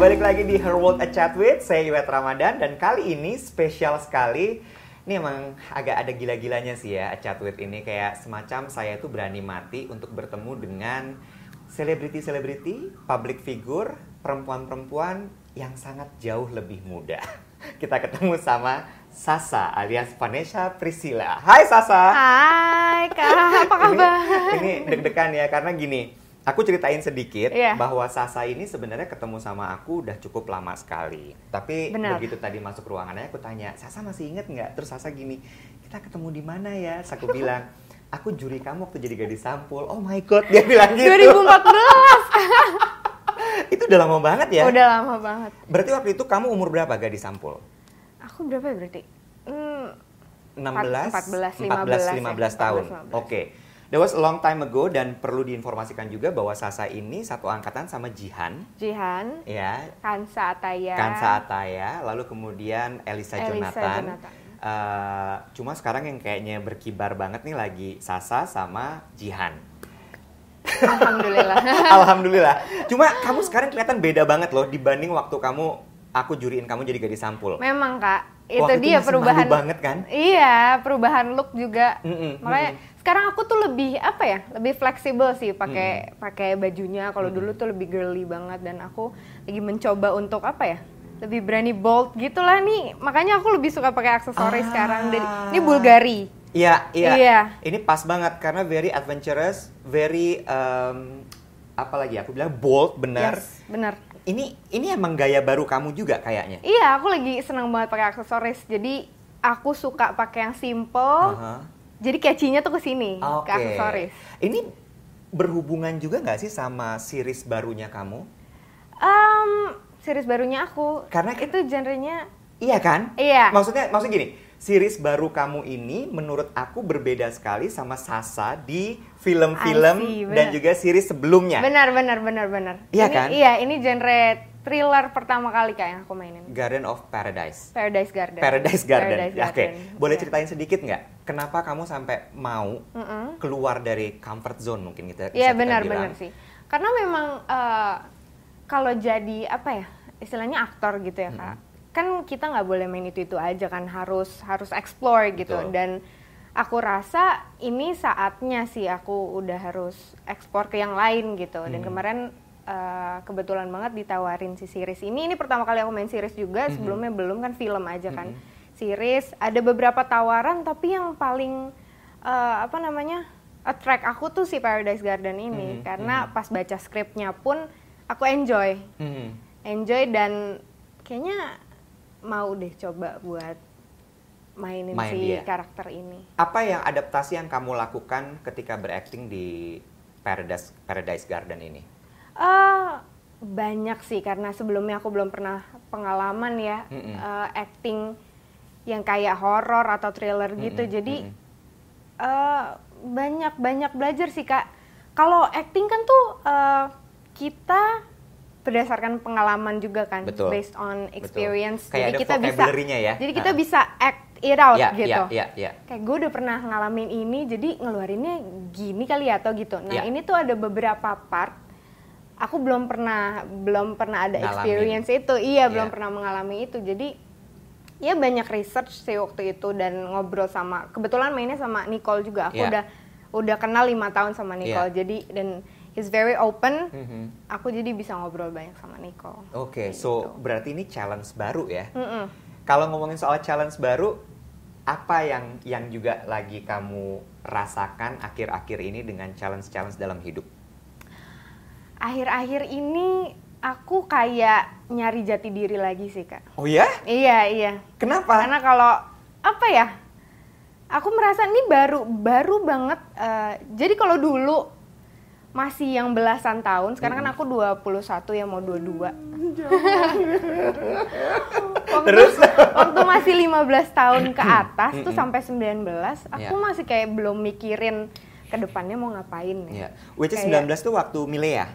balik lagi di Her World A Chat With, saya Iwet Ramadan dan kali ini spesial sekali. Ini emang agak ada gila-gilanya sih ya A Chat With ini kayak semacam saya itu berani mati untuk bertemu dengan selebriti-selebriti, public figure, perempuan-perempuan yang sangat jauh lebih muda. Kita ketemu sama Sasa alias Vanessa Priscilla. Hai Sasa. Hai kak, apa Ini, gitu. kabar? ini deg-degan ya karena gini, aku ceritain sedikit Iya. bahwa Sasa ini sebenarnya ketemu sama aku udah cukup lama sekali. Tapi Benar. begitu tadi masuk ruangannya aku tanya, "Sasa masih inget nggak?" Terus Sasa gini, "Kita ketemu di mana ya?" Terus aku bilang, "Aku juri kamu waktu jadi gadis sampul." Oh my god, dia bilang gitu. 2014, Itu udah lama banget ya. udah lama banget. Berarti waktu itu kamu umur berapa gadis sampul? Aku berapa ya berarti? Hmm, 16, 14, 14, 15 15 tahun. 15. Oke. That was a long time ago dan perlu diinformasikan juga bahwa Sasa ini satu angkatan sama Jihan, Jihan, ya, Kansa Ataya, Kansa Ataya, lalu kemudian Elisa, Ya. Elisa Jonathan. Jonathan. Eh, cuma sekarang yang kayaknya berkibar banget nih lagi Sasa sama Jihan. Alhamdulillah. Alhamdulillah. Cuma kamu sekarang kelihatan beda banget loh dibanding waktu kamu aku juriin kamu jadi gadis sampul. Memang kak, itu Waktu itu dia masih perubahan. malu banget kan? Iya, perubahan look juga. Mm-mm, Makanya sekarang aku tuh lebih apa ya? Lebih fleksibel sih pakai pakai bajunya. Kalau dulu tuh lebih girly banget dan aku lagi mencoba untuk apa ya? Lebih berani bold gitulah nih. Makanya aku lebih suka pakai aksesoris Ah. sekarang. Dari, ini Bulgari. Iya, iya. Iya. Ini pas banget karena very adventurous, very em, apa lagi ya? aku bilang bold benar. Yes, benar. Ini ini emang gaya baru kamu juga kayaknya. Iya, aku lagi senang banget pakai aksesoris. Jadi aku suka pakai yang simple. Aha. Jadi catchy-nya tuh ke sini, Oke. ke aksesoris. Ini berhubungan juga nggak sih sama series barunya kamu? Um, series barunya aku. Karena- itu genrenya Iya kan? Iya. Maksudnya maksudnya gini, series baru kamu ini menurut aku berbeda sekali sama Sasa di I see, film-film dan bener. juga series sebelumnya. benar benar benar benar. Ya. Iya ini, kan? Iya, ini genre thriller pertama kali kayak yang aku mainin. Garden of Paradise. Paradise Garden. Paradise Garden. Paradise Ya, Oke. Garden. Boleh Iya. ceritain sedikit nggak? Kenapa kamu sampai mau Mm-mm. keluar dari comfort zone mungkin kita Iya bisa kita benar bilang. benar sih. Karena memang eh, kalau jadi apa ya istilahnya aktor gitu ya kak, kan kita nggak boleh main itu itu aja kan harus harus explore gitu Betul. dan aku rasa ini saatnya sih aku udah harus ekspor ke yang lain gitu dan kemarin eh, kebetulan banget ditawarin si series ini ini pertama kali aku main series juga sebelumnya belum kan film aja kan series ada beberapa tawaran tapi yang paling eh, apa namanya attract aku tuh si Paradise Garden Mhm, ini karena pas baca skripnya pun aku enjoy Hmm. enjoy dan kayaknya mau deh coba buat mainin Main si dia. karakter ini Apa yang adaptasi yang kamu lakukan ketika berakting di Paradise Paradise Garden ini? Eh, banyak sih karena sebelumnya aku belum pernah pengalaman ya Mm-mm. eh, acting yang kayak horor atau thriller gitu Mm-mm, jadi mm-mm. eh, banyak banyak belajar sih kak kalau acting kan tuh eh, kita berdasarkan pengalaman juga kan Betul. based on Betul. experience Kayak jadi ada kita bisa vocabulary-nya ya. jadi kita Ah. bisa act it out Iya, gitu iya, iya, iya. kayak gue udah pernah ngalamin ini jadi ngeluarinnya gini kali ya atau gitu Ya. nah ini tuh ada beberapa part aku belum pernah belum pernah ada Ngalamin. experience itu iya Ya. belum pernah mengalami itu jadi ya banyak research sih waktu itu dan ngobrol sama kebetulan mainnya sama Nicole juga aku Ya. udah udah kenal lima tahun sama Nicole Ya. jadi dan he's very open Mhm. aku jadi bisa ngobrol banyak sama Nicole Oke, Kayak so gitu. berarti ini challenge baru ya. Mm-mm. Kalau ngomongin soal challenge baru, apa yang yang juga lagi kamu rasakan akhir-akhir ini dengan challenge-challenge dalam hidup? akhir-akhir ini aku kayak nyari jati diri lagi sih kak Oh ya? Iya iya. Kenapa? Karena kalau apa ya? Aku merasa ini baru baru banget. eh, jadi kalau dulu masih yang belasan tahun, sekarang Hmm. kan aku 21 ya mau 22. waktu, Terus? Hmm. waktu masih 15 tahun ke atas tuh sampai 19, aku Ya. masih kayak belum mikirin ke depannya mau ngapain ya. Iya. Which is Kayak- 19 tuh waktu Milea.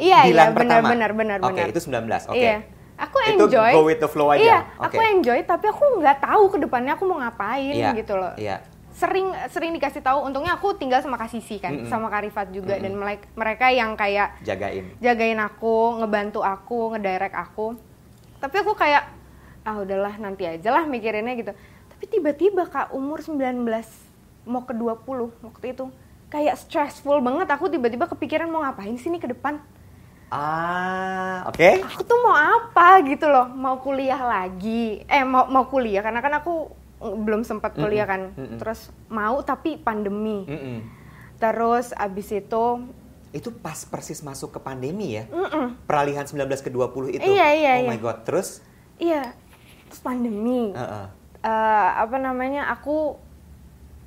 Iya, iya, Dilan benar pertama. benar benar Oke, benar. itu 19. Oke. Iya. Aku Itu enjoy. go with the flow aja. Iya, Oke. aku enjoy tapi aku nggak tahu ke depannya aku mau ngapain Iya, gitu loh. Iya. sering sering dikasih tahu untungnya aku tinggal sama Kasisi kan Mm-mm. sama Karifat juga Mm-mm. dan melek- mereka yang kayak jagain jagain aku, ngebantu aku, ngedirect aku. Tapi aku kayak ah udahlah nanti aja lah mikirinnya gitu. Tapi tiba-tiba Kak umur 19 mau ke 20 waktu itu kayak stressful banget aku tiba-tiba kepikiran mau ngapain sih nih ke depan. ah oke Aku tuh mau apa gitu loh, mau kuliah lagi. Eh mau mau kuliah karena kan aku eh, belum sempat kuliah kan. Mm-mm, mm-mm. Mm. Terus mau tapi pandemi. Mm-mm. Terus abis itu itu pas persis masuk ke pandemi ya mm-mm. peralihan 19 ke 20 itu Iya, iya, oh iya. my god terus Iya, terus pandemi. Heeh. eh, apa namanya aku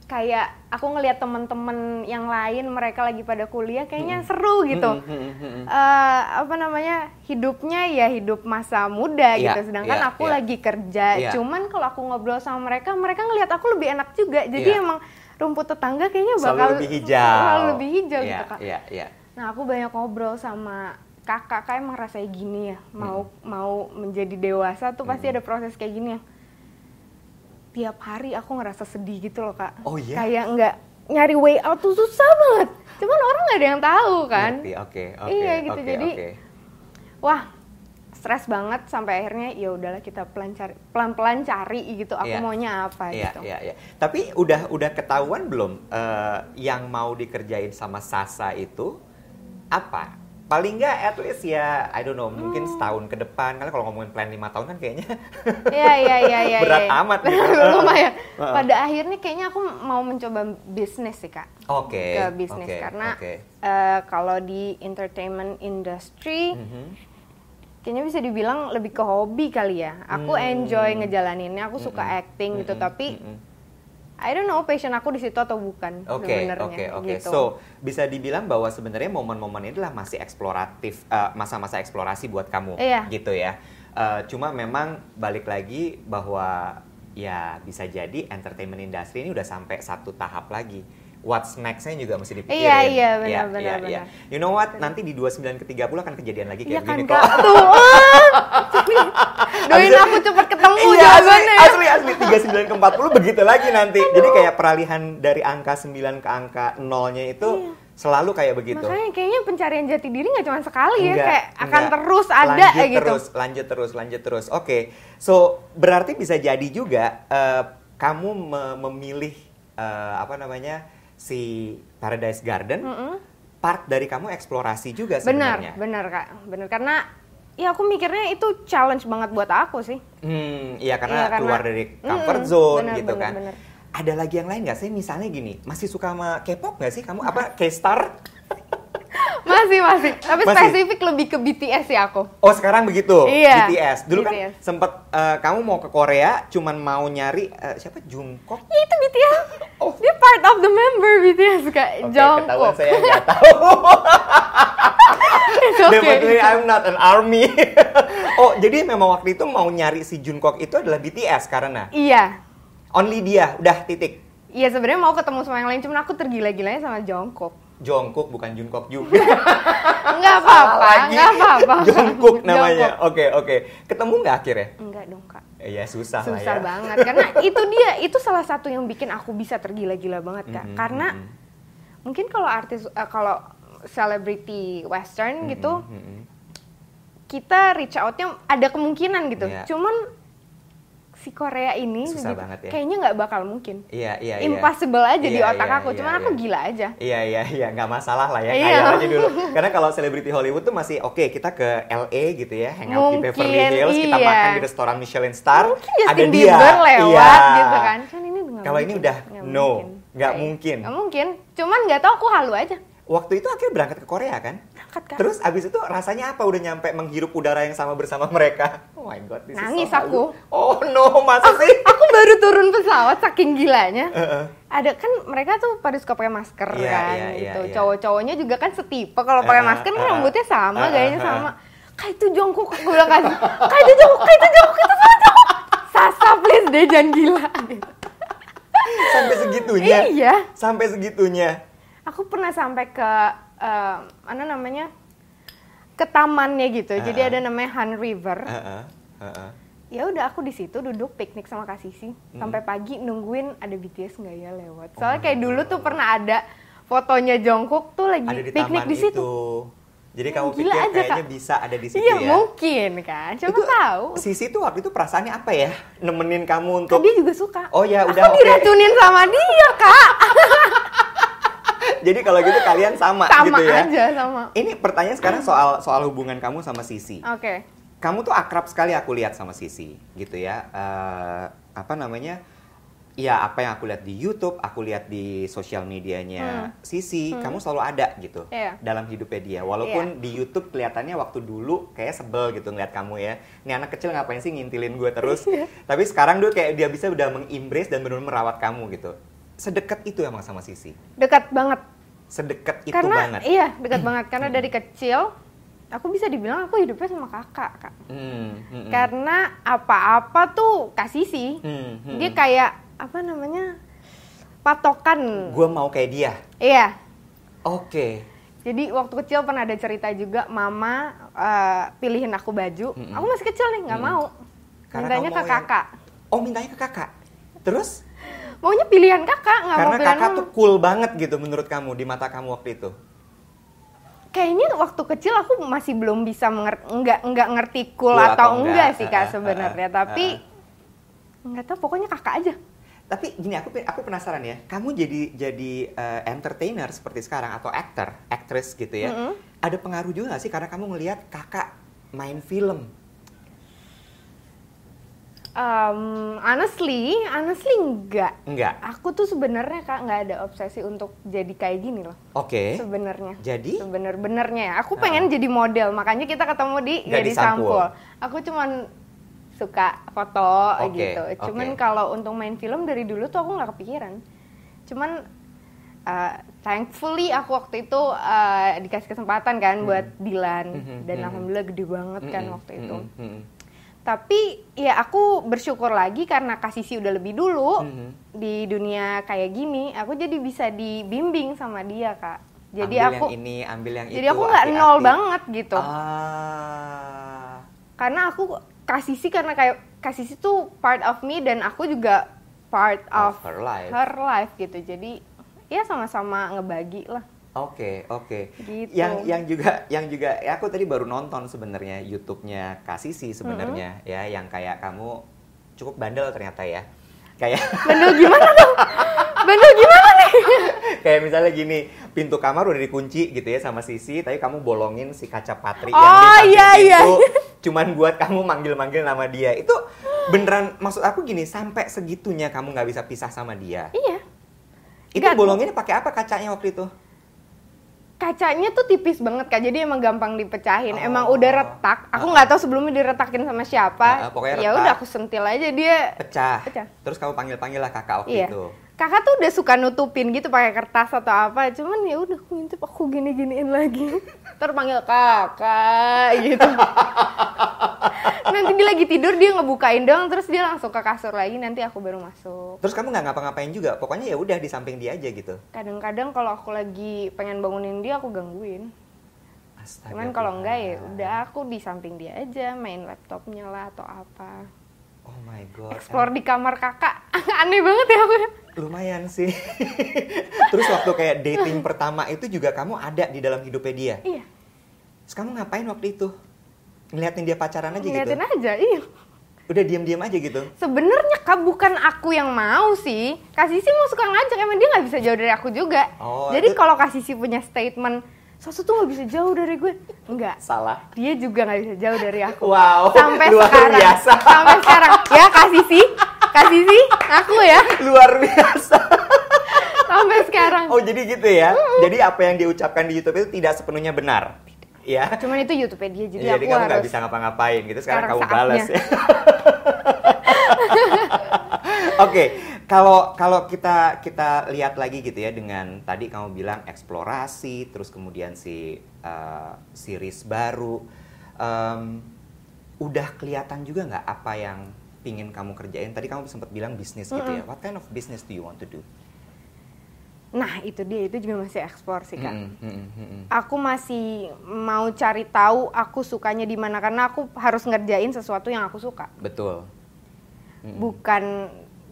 kayak aku ngelihat temen-temen yang lain mereka lagi pada kuliah kayaknya seru Mm, gitu mm, mm, mm, mm. Eh, apa namanya hidupnya ya hidup masa muda Iya, gitu sedangkan iya, aku iya. lagi kerja Iya. cuman kalau aku ngobrol sama mereka mereka ngelihat aku lebih enak juga jadi Iya. emang rumput tetangga kayaknya selalu bakal lebih hijau selalu lebih hijau Iya, gitu kak iya iya Nah aku banyak ngobrol sama kakak, kakak emang rasanya gini ya, mau Hmm. mau menjadi dewasa tuh pasti ada proses kayak gini ya. Tiap hari aku ngerasa sedih gitu loh kak. Oh, iya? Kayak nggak nyari way out tuh susah banget. Cuman orang nggak ada yang tahu kan. Ngerti, oke oke Iya, gitu. oke, Jadi, oke. Wah stres banget sampai akhirnya ya udahlah kita pelan cari pelan-pelan cari gitu aku Iya. maunya apa Iya, gitu. iya, iya. Tapi udah udah ketahuan belum eh, yang mau dikerjain sama Sasa itu apa? Paling nggak at least ya, I don't know, Hmm. mungkin setahun ke depan. Karena kalau ngomongin plan lima tahun kan kayaknya Iya iya iya iya. Berat iya. amat gitu. Berat lumayan. Heeh. Pada akhirnya kayaknya aku mau mencoba bisnis sih kak. oke. ke bisnis oke, karena oke. eh, kalau di entertainment industry Mhm. kayaknya bisa dibilang lebih ke hobi kali ya. Aku Hmm. enjoy ngejalaninnya, aku suka acting gitu Mm-mm, tapi mm-mm. I don't know passion aku di situ atau bukan Oke, sebenarnya oke, oke. gitu. So, bisa dibilang bahwa sebenarnya momen-momen ini adalah masih eksploratif, eh, masa-masa eksplorasi buat kamu, Iya. gitu ya. Eh, cuma memang balik lagi bahwa ya bisa jadi entertainment industry ini udah sampai satu tahap lagi. What's next-nya juga mesti dipikirin. Iya, iya, benar, Iya, benar, iya, benar. iya. You know what? Nanti di 29 ke 30 akan kejadian lagi kayak Iya kan gini kak kok. tuh. Wah. Doain Abis- aku cepet ketemu ya, Iya asli, jawabannya. asli, asli. 39 ke 40 begitu lagi nanti. Jadi kayak peralihan dari angka 9 ke angka nolnya itu selalu kayak begitu. Iya. Makanya kayaknya pencarian jati diri nggak cuma sekali ya, Gitu. Enggak, kayak akan enggak. terus ada lanjut gitu. terus lanjut terus lanjut terus oke so berarti bisa jadi juga eh, kamu me- memilih eh, apa namanya si Paradise Garden part dari kamu eksplorasi juga Benar, sebenarnya benar kak, benar karena ya aku mikirnya itu challenge banget buat aku sih. Hmm, iya karena, Iya, karena- keluar dari comfort Mm-mm, zone benar, gitu benar, kan benar. ada lagi yang lain nggak sih misalnya gini masih suka sama K-pop nggak sih kamu apa K-star Masih, masih. Tapi Masih. spesifik lebih ke BTS ya aku. Oh sekarang begitu Iya, BTS dulu kan BTS. sempet eh, kamu mau ke Korea cuman mau nyari eh, siapa Jungkook Ya itu BTS. Oh. Dia part of the member BTS kak. Oke, ketahuan Jongkook. saya nggak tahu. It's okay. Definitely I'm not an army. oh, jadi memang waktu itu mau nyari si Jungkook itu adalah BTS karena Iya. only dia udah titik. Iya sebenarnya mau ketemu sama yang lain, cuman aku tergila-gilanya sama Jongkook. Jongkook bukan Jungkook juga. Enggak Salah apa-apa, enggak apa-apa. Jungkook Jongkook. namanya. Oke, oke. Ketemu nggak akhirnya? Enggak dong kak. Eh, Ya susah, lah ya. susah banget karena itu dia itu salah satu yang bikin aku bisa tergila-gila banget kak Mhm, karena mhm. mungkin kalau artis eh, kalau selebriti western gitu Mm, mm, mm. kita reach outnya ada kemungkinan gitu Iya. cuman si Korea ini Susah gitu, banget ya. kayaknya nggak bakal mungkin Iya, iya, iya. impossible aja di Iya, otak iya, aku iya, cuman aku iya. gila aja Iya iya iya nggak masalah lah ya Iya. kaya aja dulu. Karena kalau selebriti Hollywood tuh masih oke kita ke LA gitu ya, hangout di Mungkin, Beverly Hills, kita iya. makan di restoran Michelin Star, Iya. mungkin Justin Iya, Bieber lewat gitu kan kan ini nggak Kalau ini mungkin, udah nggak no, nggak Kayak- mungkin. nggak mungkin cuman nggak tahu aku halu aja Waktu itu akhirnya berangkat ke Korea kan? Berangkat, Kak. Terus abis itu rasanya apa udah nyampe menghirup udara yang sama bersama mereka? Oh my god, this is so Nangis halu. aku. Oh no, masa sih? aku baru turun pesawat saking gilanya Heeh. ada kan mereka tuh pada suka pakai masker Iya, iya, kan iya, gitu iya. cowok-cowoknya juga kan setipe kalau pakai Eh, masker kan eh, rambutnya sama eh, gayanya eh, sama kak itu jongkok gue bilang kan kak itu jongkok kak itu jongkok itu sama jongkok sasa please deh jangan gila gitu. Sampai segitunya. Iya. Sampai segitunya. aku pernah sampai ke eh, mana namanya ke tamannya gitu Eh, jadi eh. Ah. ada namanya Han River Heeh. Heeh. ya udah aku di situ duduk piknik sama Kasisi sampai pagi nungguin ada BTS nggak ya lewat. Hmm. Oh Soalnya my kayak dulu tuh pernah ada fotonya Jongkook tuh lagi ada di piknik taman di situ. itu. Jadi Ya, kamu gila pikir aja, Kak. kayaknya bisa ada di situ Iya ya? mungkin kan, coba tahu. Sisi tuh waktu itu perasaannya apa ya? Nemenin kamu Kan untuk dia juga suka. Oh ya udah aku oke. diracunin sama dia kak. Jadi kalau gitu kalian sama, Sama gitu ya. aja sama. Ini pertanyaan sekarang soal soal hubungan kamu sama Sisi. Oke. Kamu tuh akrab sekali aku lihat sama Sisi, gitu ya. Eh, apa namanya? Ya apa yang aku lihat di YouTube, aku lihat di sosial medianya Sisi, kamu selalu ada gitu Hmm. Iya. dalam hidupnya dia. Walaupun di YouTube kelihatannya waktu dulu kayak sebel gitu ngeliat kamu ya. Ini anak kecil ngapain sih ngintilin gue terus? Iya. Tapi sekarang dia kayak dia bisa udah mengimbres dan benar-benar merawat kamu gitu. Sedekat itu emang sama Sisi. Dekat banget. Sedekat itu karena Gitu banget. Hmm. iya dekat banget karena dari kecil aku bisa dibilang aku hidupnya sama kakak kak. Hmm, hmm, hmm. Karena apa-apa tuh Kasisi. Hmm, hmm. Dia kayak apa namanya patokan. Gua mau kayak dia. Iya. Oke. Jadi waktu kecil pernah ada cerita juga mama eh, pilihin aku baju. Mm-mm. Aku masih kecil nih nggak Mm-mm. mau. Hmm. Karena Mintanya kamu ke mau yang- kakak. Oh, mintanya ke kakak. Terus? Maunya pilihan kakak nggak mau Karena pilihan kakak mama. tuh cool banget gitu menurut kamu di mata kamu waktu itu. Kayaknya waktu kecil aku masih belum bisa menger- nggak nggak ngerti cool Cool atau, atau enggak, enggak, sih ah, ah, kak ah, sebenarnya. ah, Tapi ah. nggak tahu pokoknya kakak aja. Tapi gini aku aku penasaran ya. Kamu jadi jadi eh, entertainer seperti sekarang atau actor, actress gitu ya. Mm-mm. Ada pengaruh juga gak sih karena kamu ngelihat kakak main film? Um, honestly, honestly enggak. Enggak. Aku tuh sebenarnya kak nggak ada obsesi untuk jadi kayak gini loh. Eh? Oke. sebenarnya. Jadi? Sebener-benernya ya. Aku pengen jadi model, makanya kita ketemu di Ah. Nggak jadi di Sampul. sampul. Aku cuman suka foto Oke, gitu. Cuman oke. kalau untuk main film dari dulu tuh aku nggak kepikiran. Cuman uh, thankfully aku waktu itu uh, dikasih kesempatan kan Hmm. buat Dilan Mhm, dan mhm. alhamdulillah gede banget kan Mm-mm, waktu itu. mm-mm, mm-mm. Tapi ya aku bersyukur lagi karena Kasisi udah lebih dulu Mhm. di dunia kayak gini, aku jadi bisa dibimbing sama dia, Kak. Jadi Ambil aku yang ini, ambil yang itu. jadi aku nggak hati-hati. nol banget gitu. Ah. Karena aku Kasisi karena kayak Kasisi tuh part of me dan aku juga part Of of, her life. her life gitu. Jadi ya sama-sama ngebagi lah. Oke, oke. Gitu. Yang yang juga yang juga ya aku tadi baru nonton sebenarnya YouTube-nya Kasisi sebenarnya ya yang kayak kamu cukup bandel ternyata ya. Kayak Bandel gimana tuh? Bandel gimana nih? kayak misalnya gini, pintu kamar udah dikunci gitu ya sama Sisi, tapi kamu bolongin si kaca patri yang di Oh, samping iya, iya. pintu cuman buat kamu manggil-manggil nama dia. Itu beneran maksud aku gini, sampai segitunya kamu nggak bisa pisah sama dia. Iya. Itu Nggak. bolonginnya pakai apa kacanya waktu itu? kacanya tuh tipis banget kak jadi emang gampang dipecahin Oh. emang udah retak aku nggak tahu sebelumnya diretakin Ah, sama siapa ah, pokoknya ya retak. udah aku sentil aja dia Pecah. Pecah. Terus kamu panggil-panggil lah kakak waktu iya itu. kakak tuh udah suka nutupin gitu pakai kertas atau apa cuman ya udah aku ngintip aku gini giniin lagi terpanggil kakak gitu nanti dia lagi tidur dia ngebukain dong terus dia langsung ke kasur lagi nanti aku baru masuk Terus kamu nggak ngapa-ngapain juga, pokoknya ya udah di samping dia aja gitu. kadang-kadang kalau aku lagi pengen bangunin dia aku gangguin Astaga. Cuman kalau enggak ya Tuhan. udah aku di samping dia aja main laptopnya lah atau apa. Oh my god. Explore di kamar kakak. Aneh banget ya aku. Em- Lumayan sih. Terus waktu kayak dating pertama itu juga kamu ada di dalam hidupnya dia. Iya. Terus kamu ngapain waktu itu? Ngeliatin dia pacaran aja gitu. Ngeliatin aja. Iya. Udah diam-diam aja gitu. Sebenarnya kak bukan aku yang mau sih. Kasisi mau suka ngajak emang dia nggak bisa jauh dari aku juga. Oh, Jadi itu- kalau Kasisi punya statement Sosu tuh nggak bisa jauh dari gue. Enggak. Salah. Dia juga nggak bisa jauh dari aku. Wow. Sampai Oh, luar sekarang. biasa. Sampai sekarang. Ya Kasisi. Kasisi. Aku ya. Luar biasa. Sampai sekarang. Oh jadi gitu ya. Jadi apa yang diucapkan di YouTube itu tidak sepenuhnya benar. Ya. Cuman itu YouTube-nya dia jadi, Iya, Jadi aku kamu nggak harus bisa ngapa-ngapain gitu. Sekarang, Sekarang kamu balas saatnya. ya. Oke, kalau kalau kita kita lihat lagi gitu ya dengan tadi kamu bilang eksplorasi, terus kemudian si eh, series baru, Em, udah kelihatan juga nggak apa yang pingin kamu kerjain? Tadi kamu sempat bilang bisnis gitu ya. What kind of business do you want to do? Nah itu dia itu juga masih ekspor sih kak. Mm-mm, mm-mm, mm-mm. Aku masih mau cari tahu aku sukanya di mana karena aku harus ngerjain sesuatu yang aku suka. Betul. Bukan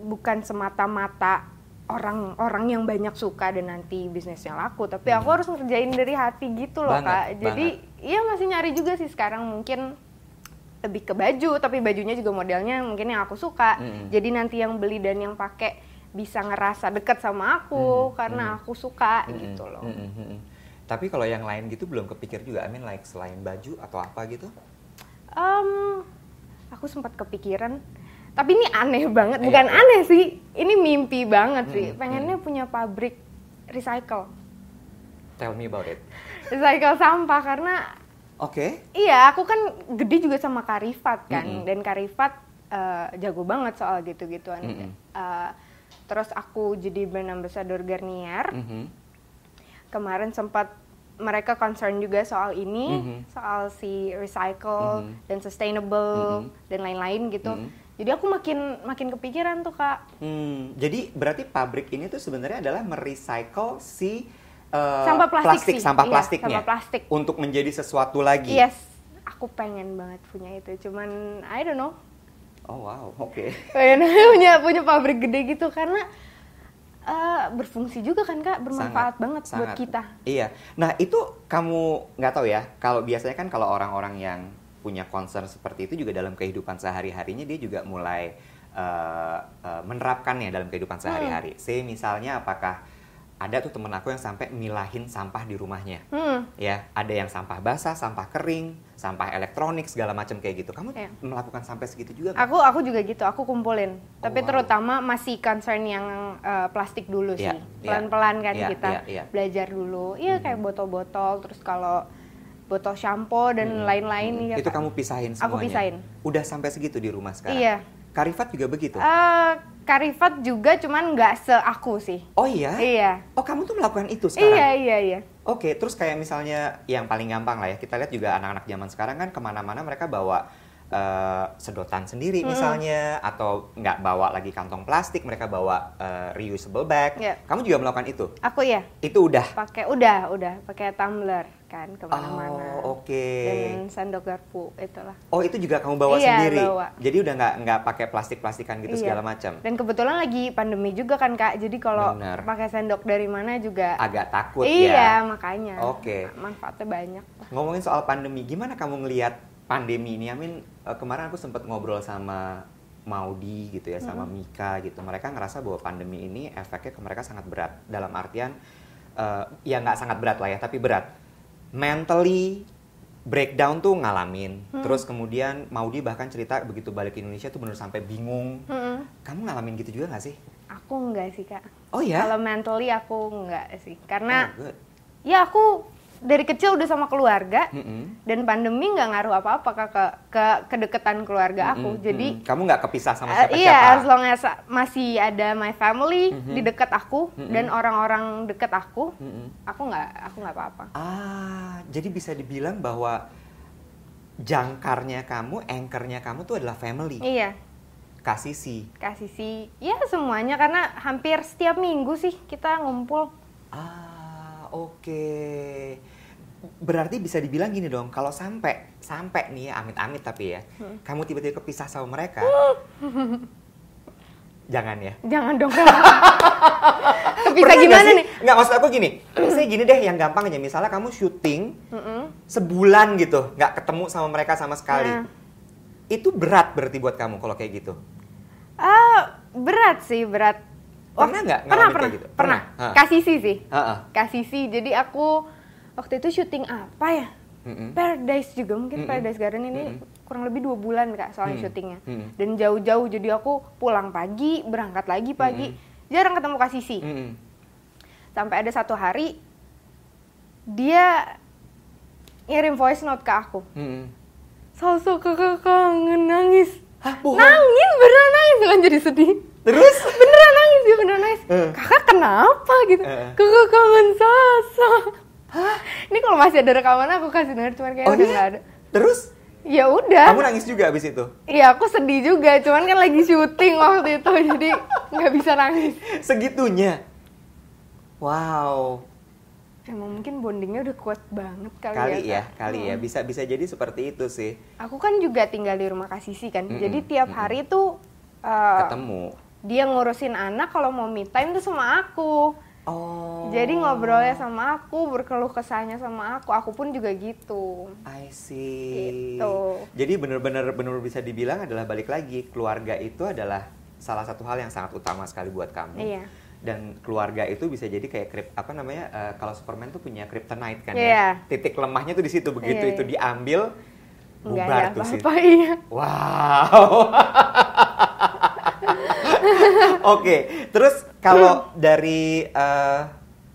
bukan semata-mata orang-orang yang banyak suka dan nanti bisnisnya laku. Tapi aku harus ngerjain dari hati gitu loh Banget, kak. Jadi iya masih nyari juga sih sekarang mungkin lebih ke baju tapi bajunya juga modelnya mungkin yang aku suka. Mm-mm. Jadi nanti yang beli dan yang pakai bisa ngerasa deket sama aku karena aku suka gitu loh. Mm-mm, mm-mm. Tapi kalau yang lain gitu belum kepikir juga. I mean like selain baju atau apa gitu? Em, aku sempat kepikiran, tapi ini aneh banget. Bukan aneh sih, ini mimpi banget sih. Hmm, Pengennya punya pabrik recycle, Tell me about it. recycle sampah karena Oke. iya aku kan gede juga sama Karifat kan, Mm-mm. dan Karifat eh, jago banget soal gitu-gituan. Mm-mm. Eh, terus aku jadi brand ambassador Garnier. Mhm. kemarin sempat mereka concern juga soal ini, Mhm. soal si recycle Mhm. dan sustainable Mhm. dan lain-lain gitu. Mhm. Jadi aku makin makin kepikiran tuh kak Hmm, jadi berarti pabrik ini tuh sebenarnya adalah merecycle si eh, sampah plastik, sih. sampah Iya, plastiknya sampah plastik. Iya. untuk menjadi sesuatu lagi. Yes, aku pengen banget punya itu. Cuman I don't know, Oh wow, oke. pengen punya punya pabrik gede gitu karena eh, berfungsi juga kan kak, bermanfaat banget buat sangat. kita. Iya. Nah itu kamu nggak tahu ya. Kalau biasanya kan kalau orang-orang yang punya concern seperti itu juga dalam kehidupan sehari-harinya dia juga mulai eh, eh, menerapkannya dalam kehidupan Hmm. sehari-hari. Saya misalnya apakah ada tuh temen aku yang sampai milahin sampah di rumahnya. Hmm. ya ada yang sampah basah sampah kering sampah elektronik segala macam kayak gitu kamu Iya. melakukan sampai segitu juga nggak? Aku aku juga gitu, aku kumpulin. Tapi Oh, wow. terutama masih concern yang eh, plastik dulu sih. Iya, iya. Pelan-pelan kan Iya, kita iya, iya. Hmm. belajar dulu. Iya kayak botol-botol, terus kalau botol shampoo dan lain-lain Hmm, ya, itu Kak. kamu pisahin semuanya Aku pisahin. udah sampai segitu di rumah sekarang Iya. Karifat juga begitu Eh, Karifat juga cuman nggak se aku sih. oh iya Iya. oh kamu tuh melakukan itu Iya, sekarang iya, iya. oke terus kayak misalnya yang paling gampang lah ya kita lihat juga anak-anak zaman sekarang kan kemana-mana mereka bawa eh, sedotan sendiri misalnya atau nggak bawa lagi kantong plastik mereka bawa eh, reusable bag Iya. kamu juga melakukan itu Aku ya itu udah pakai udah, udah pakai tumbler kan kemana-mana. oh oke Dan sendok garpu itulah. Oh itu juga kamu bawa Iya, sendiri. bawa. Jadi udah nggak nggak pakai plastik plastikan gitu Iya. segala macam. Dan kebetulan lagi pandemi juga kan kak, jadi kalau Benar. pakai sendok dari mana juga Agak takut ya. iya makanya. Oke. Manfaatnya banyak. Ngomongin soal pandemi, gimana kamu ngelihat pandemi ini? Amin eh, kemarin aku sempat ngobrol sama Maudi gitu ya, sama Mm-hmm. Mika gitu. Mereka ngerasa bahwa pandemi ini efeknya ke mereka sangat berat. Dalam artian eh, ya nggak sangat berat lah ya, tapi berat. Mentally breakdown tuh ngalamin. Mm-hmm. Terus kemudian Maudi bahkan cerita begitu balik ke Indonesia tuh bener sampai bingung. Mm-mm. Kamu ngalamin gitu juga nggak sih? Aku enggak sih kak. Oh ya. Kalau mentally aku enggak sih, karena Oh, good. ya aku dari kecil udah sama keluarga Mm-mm. dan pandemi nggak ngaruh apa-apa kak ke, ke kedekatan keluarga aku. Mm-mm, Jadi mm-mm. kamu nggak kepisah sama Eh, siapa-siapa. iya, as long as masih ada my family di dekat aku dan orang-orang dekat aku, Mm-mm. aku nggak aku nggak apa-apa. Ah, jadi bisa dibilang bahwa jangkarnya kamu, anchornya kamu tuh adalah family, Iya, kasih si. kasih sih ya semuanya karena hampir setiap minggu sih kita ngumpul. Ah, oke. Berarti bisa dibilang gini dong, kalau sampai sampai nih ya, amit-amit tapi ya, Hmm. kamu tiba-tiba kepisah sama mereka. jangan ya. Jangan dong. Kepisah gimana nih? Nggak, maksud aku gini. Saya gini deh yang gampang aja. Misalnya kamu syuting, Mm-mm. sebulan gitu nggak ketemu sama mereka sama sekali Nah. itu berat berarti buat kamu kalau kayak gitu Ah, berat sih, berat. Pernah nggak Pernah, ngalamin pernah. kayak gitu? Pernah. Pernah. Ah. Kasih sih sih. Heeh. Kasih sih. Jadi aku waktu itu syuting apa ya? Mm-mm. Paradise juga mungkin Mm-mm. Paradise Garden Hmm, ini kurang lebih dua bulan kak soalnya Mm. syutingnya Mm. dan jauh-jauh jadi aku pulang pagi berangkat Hmm, lagi pagi jarang ketemu Kak Sisi Mm-mm. sampai ada satu hari dia ngirim voice note ke aku Mm-mm. Salso kakak kangen nangis Hah, bohong? nangis beneran nangis kan jadi sedih terus beneran nangis dia beneran nangis Eh. kakak kenapa gitu Eh. kakak kangen Salso ini kalau masih ada rekaman aku kasih denger cuman kayak Oh, Ya, udah iya? nggak ada terus ya udah kamu nangis juga abis itu Iya aku sedih juga, cuman kan lagi syuting waktu itu jadi nggak bisa nangis. segitunya Wow, Emang mungkin bondingnya udah kuat banget kali, kali ya. ya, Kak. kali ya. Bisa bisa jadi seperti itu sih. Aku kan juga tinggal di rumah Kak Sisi kan. Mm-mm, Jadi tiap hari tuh eh, Ketemu. dia ngurusin anak kalau mau me time tuh sama aku. Oh. Jadi ngobrolnya sama aku, berkeluh kesahnya sama aku. Aku pun juga gitu. I see. Gitu. Jadi benar-benar benar bisa dibilang adalah balik lagi keluarga itu adalah salah satu hal yang sangat utama sekali buat kamu. Iya. Dan keluarga itu bisa jadi kayak krip apa namanya eh, kalau Superman tuh punya kryptonite kan ya. Iya. Titik lemahnya tuh di situ begitu Iya, itu iya. diambil bubar Nggak ada tuh sih. apa-apa iya. Wow. Oke, terus kalau dari eh,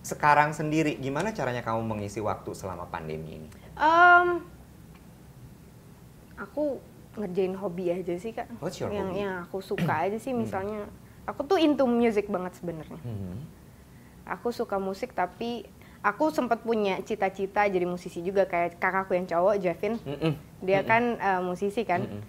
sekarang sendiri gimana caranya kamu mengisi waktu selama pandemi ini? Em, aku ngerjain hobi aja sih kak. What's your yang hobby? yang aku suka aja sih misalnya. Aku tuh into music banget sebenarnya. Hmm. Aku suka musik tapi aku sempat punya cita-cita jadi musisi juga kayak kakakku yang cowok Javin. Mm-mm. Dia kan eh, musisi kan. Mm-mm.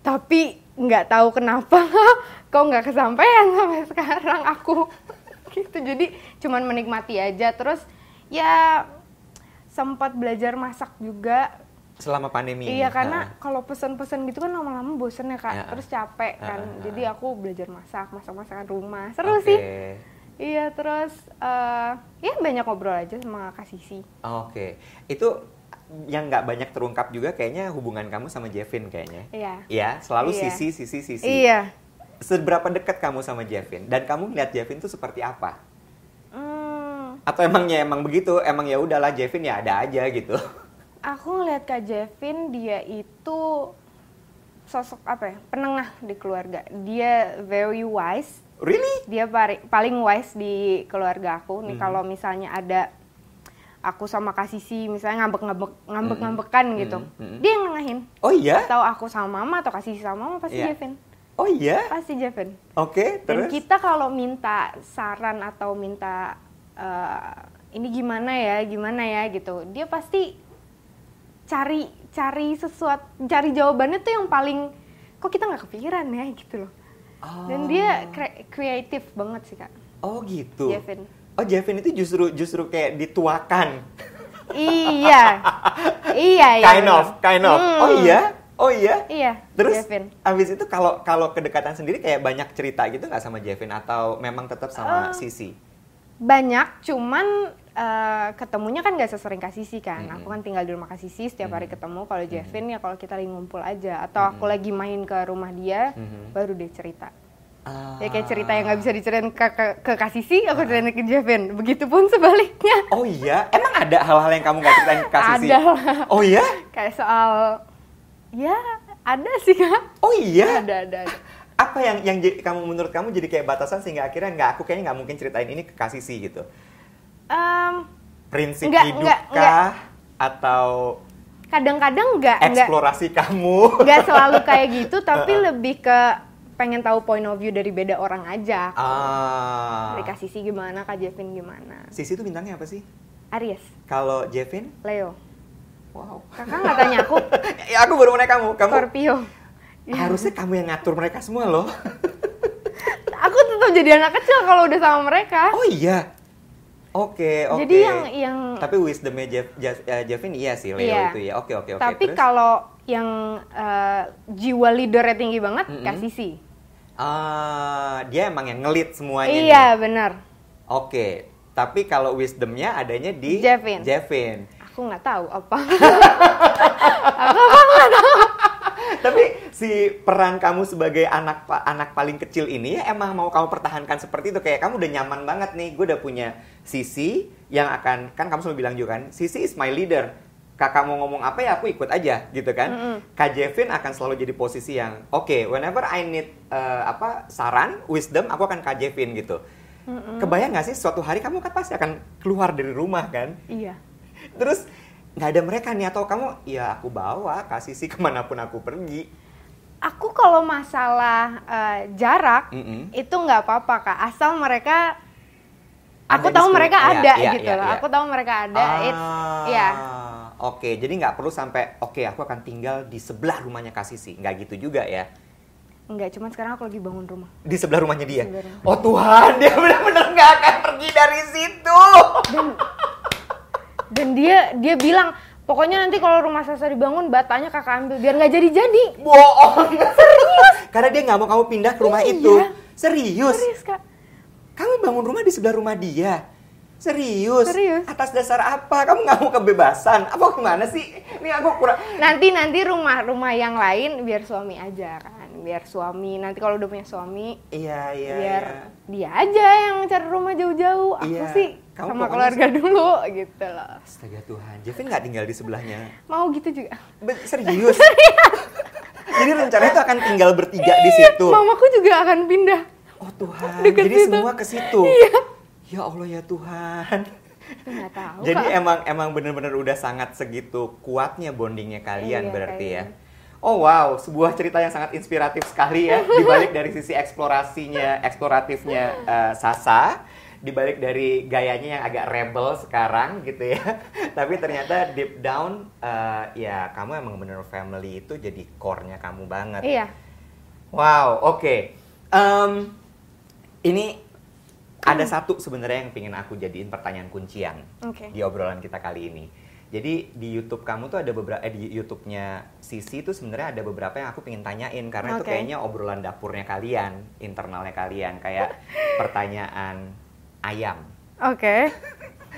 Tapi nggak tahu kenapa kok nggak kesampaian sampai sekarang aku gitu. Jadi cuman menikmati aja terus ya sempat belajar masak juga selama pandemi Nah, ini. Iya karena Ha. kalau pesan-pesan gitu kan lama-lama bosen ya kak, Ya. terus capek kan. Ah, ah, Jadi aku belajar masak, masak masakan rumah, seru Oke. sih. Iya terus eh ya banyak ngobrol aja sama kak Sisi. Oke. Itu yang nggak banyak terungkap juga kayaknya hubungan kamu sama Jevin kayaknya. Iya. Ya, selalu Iya. sisi sisi sisi. Iya. Seberapa dekat kamu sama Jevin dan kamu ngeliat Jevin tuh seperti apa? Iya. Hmm, Atau emangnya emang begitu? Emang ya udahlah Jevin ya ada aja gitu. aku ngeliat kak Jevin dia itu sosok apa ya penengah di keluarga. Dia very wise. Really? dia pari- paling wise di keluarga aku nih kalau misalnya ada aku sama kasisi misalnya ngambek-ngambek ngambek-ngambekan gitu Mm-mm. Mm-mm. dia yang nengahin Oh iya? tahu aku sama mama atau kasisi sama mama pasti Iya. Jevin Oh iya? pasti Jevin Oke, terus? dan kita kalau minta saran atau minta eh, ini gimana ya gimana ya gitu dia pasti cari cari sesuatu cari jawabannya tuh yang paling kok kita nggak kepikiran ya gitu loh dan dia kre- kreatif banget sih kak Oh gitu. Jevin. Oh Jevin itu justru justru kayak dituakan. iya iya iya kind of, kind of. Hmm. Oh iya? Oh iya? iya Terus Jevin abis itu kalau kalau kedekatan sendiri kayak banyak cerita gitu nggak sama Jevin atau memang tetap sama Eh, Sisi? banyak cuman eh, ketemunya kan gak sesering Kak Sisi kan Mm-mm. aku kan tinggal di rumah Kak Sisi setiap hari ketemu kalau Jevin ya kalau kita lagi ngumpul aja atau aku lagi main ke rumah dia Mm-mm. baru dia cerita Ah. ya kayak cerita yang nggak bisa diceritain ke ke, ke Kak Sisi aku ceritain ke Jevin begitupun sebaliknya Oh iya, emang ada hal-hal yang kamu nggak ceritain ke Sisi? Ada lah. Oh iya? kayak soal ya ada sih kak Oh iya? ada ada, ada. Apa yang yang jadi- kamu menurut kamu jadi kayak batasan sehingga akhirnya nggak aku kayaknya nggak mungkin ceritain ini ke Kak Sisi gitu? Em, Prinsip Nggak, hidup nggak, kah? Atau kadang-kadang nggak nggak eksplorasi kamu? nggak selalu kayak gitu tapi lebih ke pengen tahu point of view dari beda orang aja ah. dari Kak Sisi gimana Kak Jevin gimana Sisi itu bintangnya apa sih? Aries Kalau Jevin? Leo Wow. kakak nggak tanya aku ya aku baru mau nanya kamu. Kamu Scorpio Iya. harusnya kamu yang ngatur mereka semua loh. aku tetap jadi anak kecil kalau udah sama mereka Oh iya. Oke, Oh, oke. Jadi yang- yang- Tapi wisdomnya Jeff, Jeff- eh, Jeffin iya sih Leo Iya. itu ya. Oke, oke, oke. tapi Terus? kalau yang eh, jiwa leadernya tinggi banget Mm-mm. Kak Sisi Ah, dia emang yang ngelit semuanya iya nih. benar Oke. Tapi kalau wisdomnya adanya di Jeffin. Jeffin. aku nggak tahu apa Tapi si peran kamu sebagai anak pa- anak paling kecil ini ya emang mau kamu pertahankan seperti itu kayak kamu udah nyaman banget nih. Gue udah punya Sisi yang akan kan kamu selalu bilang juga kan, Sisi is my leader. Kakak mau ngomong apa ya aku ikut aja gitu kan. Kak Jevin akan selalu jadi posisi yang oke, whenever I need eh, apa saran, wisdom aku akan Kak Jevin gitu. Kebayang gak sih suatu hari kamu kan pasti akan keluar dari rumah kan? iya Terus nggak ada mereka nih atau kamu ya aku bawa kasih sih kemanapun aku pergi Aku kalau masalah eh, jarak Mm-mm. itu nggak apa-apa kak, asal mereka Ada aku di tahu sekeliling- mereka iya, ada iya, gitu iya, loh. iya. Aku tahu mereka ada. It's ya Ah, Oke, jadi nggak perlu sampai oke aku akan tinggal di sebelah rumahnya Kasisi, nggak gitu juga ya? Enggak, cuman sekarang aku lagi bangun rumah. Di sebelah rumahnya dia. Sebelah rumah. Oh Tuhan, dia benar-benar nggak akan pergi dari situ. Dan dan dia dia bilang, pokoknya nanti kalau rumah Sasa dibangun batanya kakak ambil biar nggak jadi-jadi. Bohong. Serius? Karena dia nggak mau kamu pindah ke rumah Iya. itu. Serius? Serius, Kak. Kamu bangun rumah di sebelah rumah dia. Serius? Serius. Atas dasar apa? Kamu nggak mau kebebasan? Apa gimana sih? Ini aku kurang. Nanti nanti rumah-rumah yang lain biar suami aja kan. Biar suami nanti kalau udah punya suami Iya iya. biar iya. dia aja yang cari rumah jauh-jauh. Aku Iya. sih Kamu sama pokoknya keluarga dulu gitu loh. Astaga Tuhan, Jevin nggak tinggal di sebelahnya. Mau gitu juga. Be- serius? Jadi rencananya itu akan tinggal bertiga Iya, di situ. Mamaku juga akan pindah. Oh Tuhan, Deket jadi situ. semua ke situ. Iya. Ya Allah ya Tuhan. Aku nggak tahu. Jadi Kak. emang emang benar-benar udah sangat segitu kuatnya bondingnya kalian Iya, berarti ya. kayaknya. Oh wow, sebuah cerita yang sangat inspiratif sekali ya. Dibalik dari sisi eksplorasinya, eksploratifnya eh, Sasa, dibalik dari gayanya yang agak rebel sekarang gitu ya. Tapi ternyata deep down, eh, ya kamu emang bener family itu jadi core-nya kamu banget. Iya. Wow, oke. Em, ini ada satu sebenarnya yang pingin aku jadiin pertanyaan kuncian Oke. di obrolan kita kali ini. Jadi di YouTube kamu tuh ada beberapa eh, di YouTube-nya Sisi tuh sebenarnya ada beberapa yang aku pingin tanyain karena itu Oke. kayaknya obrolan dapurnya kalian, internalnya kalian kayak pertanyaan ayam. Oke.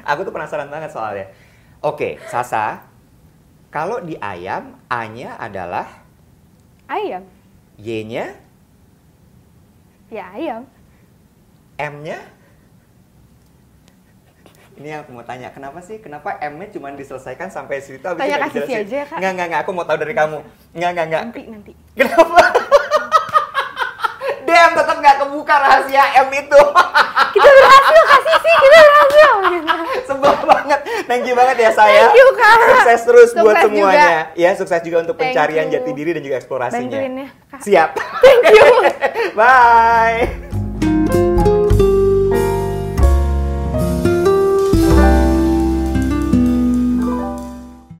Aku tuh penasaran banget soalnya. Oke, Sasa, kalau di ayam A-nya adalah Ayam. Y-nya, Ya ayam. M-nya? Ini yang aku mau tanya, kenapa sih? Kenapa M-nya cuma diselesaikan sampai situ? Abis itu Tanya nggak kasih dijelasin? aja ya, Kak. Nggak, nggak, nggak. Aku mau tahu dari kamu. Nggak, nggak, nggak. Nanti nanti. Kenapa? Damn, tetap nggak kebuka rahasia M itu. Kita berhasil kasih sih kita berhasil. Sebel banget. Thank you banget ya saya. Thank you, Kak. Sukses terus buat Sukses semuanya. Ya, sukses juga untuk Thank pencarian you. ya, jati diri dan juga eksplorasinya. Bantuin ya, Kak. Siap. Thank you. Bye.